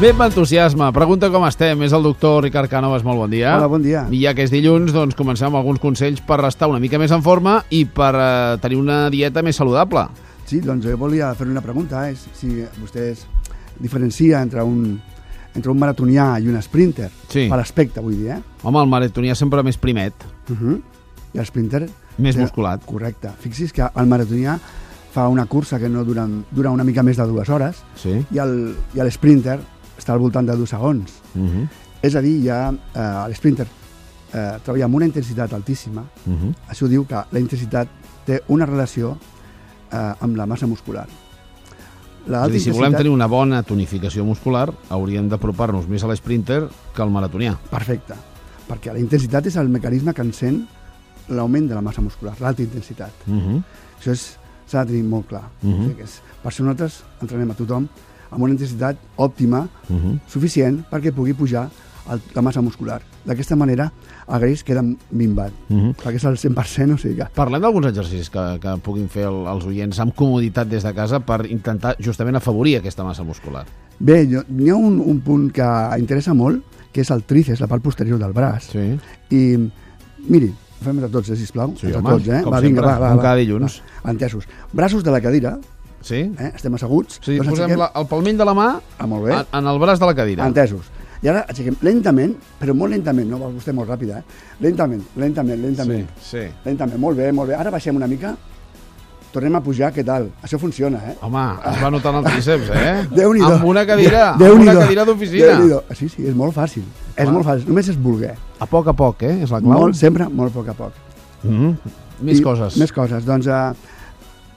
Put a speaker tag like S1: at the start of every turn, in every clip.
S1: Bé, amb entusiasme. Pregunta com estem. És el doctor Ricard Cànovas. Molt bon dia.
S2: Hola, bon dia.
S1: I ja que és dilluns, doncs comencem amb alguns consells per restar una mica més en forma i per eh, tenir una dieta més saludable.
S2: Sí, doncs jo volia fer una pregunta, és si vostès diferencia entre un, entre un maratonià i un sprinter,
S1: Sí.
S2: per aspecte vull dir, eh?
S1: Home, el maratonià sempre més primet,
S2: Uh -huh. I el sprinter...
S1: més
S2: eh,
S1: musculat.
S2: Correcte. Fixi's que el maratonià fa una cursa que no dura, dura una mica més de dues hores
S1: Sí.
S2: i el, i el sprinter està al voltant de dos segons.
S1: Uh -huh.
S2: És a dir, ja eh, l'sprinter eh, treballa amb una intensitat altíssima.
S1: Uh -huh.
S2: Això diu que la intensitat té una relació eh, amb la massa muscular. La Ah,
S1: És a dir, si volem tenir una bona tonificació muscular, hauríem d'apropar-nos més a l'esprinter que al maratonià.
S2: Perfecte, perquè la intensitat és el mecanisme que encén l'augment de la massa muscular, l'alta intensitat.
S1: Uh -huh.
S2: Això és- s'ha de tenir molt clar.
S1: Mhm.
S2: o sigui que és, per això nosaltres entrenem a tothom amb una intensitat òptima,
S1: Uh -huh.
S2: suficient perquè pugui pujar el, la massa muscular. D'aquesta manera, el greix queda minvat,
S1: Uh -huh.
S2: perquè és el 100%, o sigui que...
S1: Parlem d'alguns exercicis que, que puguin fer el, els oients amb comoditat des de casa per intentar justament afavorir aquesta massa muscular.
S2: Bé, jo- n'hi ha un, un punt que interessa molt, que és el tríceps, la part posterior del braç.
S1: Sí.
S2: I, miri, fem entre tots, eh, sisplau.
S1: Sí,
S2: entre
S1: home,
S2: tots, eh?
S1: com
S2: va, vinga,
S1: sempre,
S2: va, va,
S1: com
S2: va,
S1: cada dilluns.
S2: Va, entesos. Braços de la cadira,
S1: Sí?
S2: eh? estem asseguts.
S1: O sigui,
S2: Doncs
S1: posem
S2: aixequem-
S1: la, el palmell de la mà
S2: Ah, molt bé.
S1: en, en el braç de la cadira.
S2: Entesos. I ara aixequem lentament, però molt lentament, no va vostè molt ràpida, eh? Lentament, lentament, lentament.
S1: Sí, sí.
S2: Lentament, molt bé, molt bé. Ara baixem una mica, tornem a pujar, què tal? Això funciona, eh?
S1: Home, es va notant el tríceps, eh?
S2: Déu-n'hi-do.
S1: Amb una cadira,
S2: Déu-
S1: amb una
S2: Déu-n'hi-do.
S1: cadira d'oficina.
S2: Déu-n'hi-do. Sí, sí, és molt fàcil. És
S1: Home.
S2: molt fàcil, només és voler.
S1: A poc a poc, eh? És la clau.
S2: Molt, sempre molt a poc a poc.
S1: Mm. Més
S2: I-
S1: coses.
S2: Més coses. Doncs eh,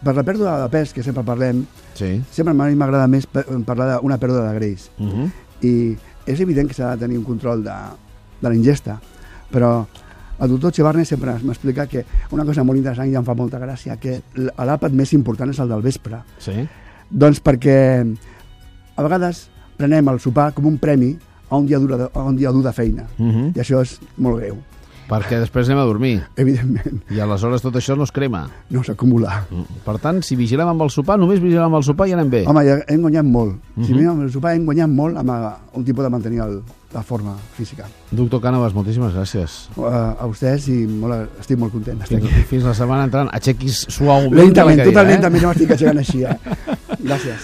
S2: per la pèrdua de pes, que sempre parlem,
S1: Sí.
S2: sempre a mi m'agrada més pe- parlar d'una pèrdua de greix.
S1: Uh -huh.
S2: i és evident que s'ha de tenir un control de, de la ingesta, però el doctor Chevarne sempre m'explica que una cosa molt interessant i em fa molta gràcia, que l- l'àpat més important és el del vespre.
S1: Sí.
S2: Doncs perquè a vegades prenem el sopar com un premi a un dia dur de, a un dia dur de feina.
S1: Uh -huh.
S2: I això és molt greu,
S1: Perquè després anem a dormir
S2: evidentment,
S1: i aleshores tot això no es crema.
S2: no s'acumula.
S1: Per tant, si vigilem amb el sopar, només vigilem amb el sopar i anem bé.
S2: Home, ja hem guanyat molt. Si mirem el sopar, hem guanyat molt amb eh, un tipus de mantenir el, la forma física.
S1: Doctor Cànovas, moltíssimes gràcies.
S2: Eh, A vostès i molt, estic molt content d'estar
S1: Fins,
S2: aquí.
S1: fins la setmana entrant. Aixequis suaument de la
S2: Lentament,
S1: cadira,
S2: totalment,
S1: eh?
S2: també no m'estic aixecant així, eh? Gràcies.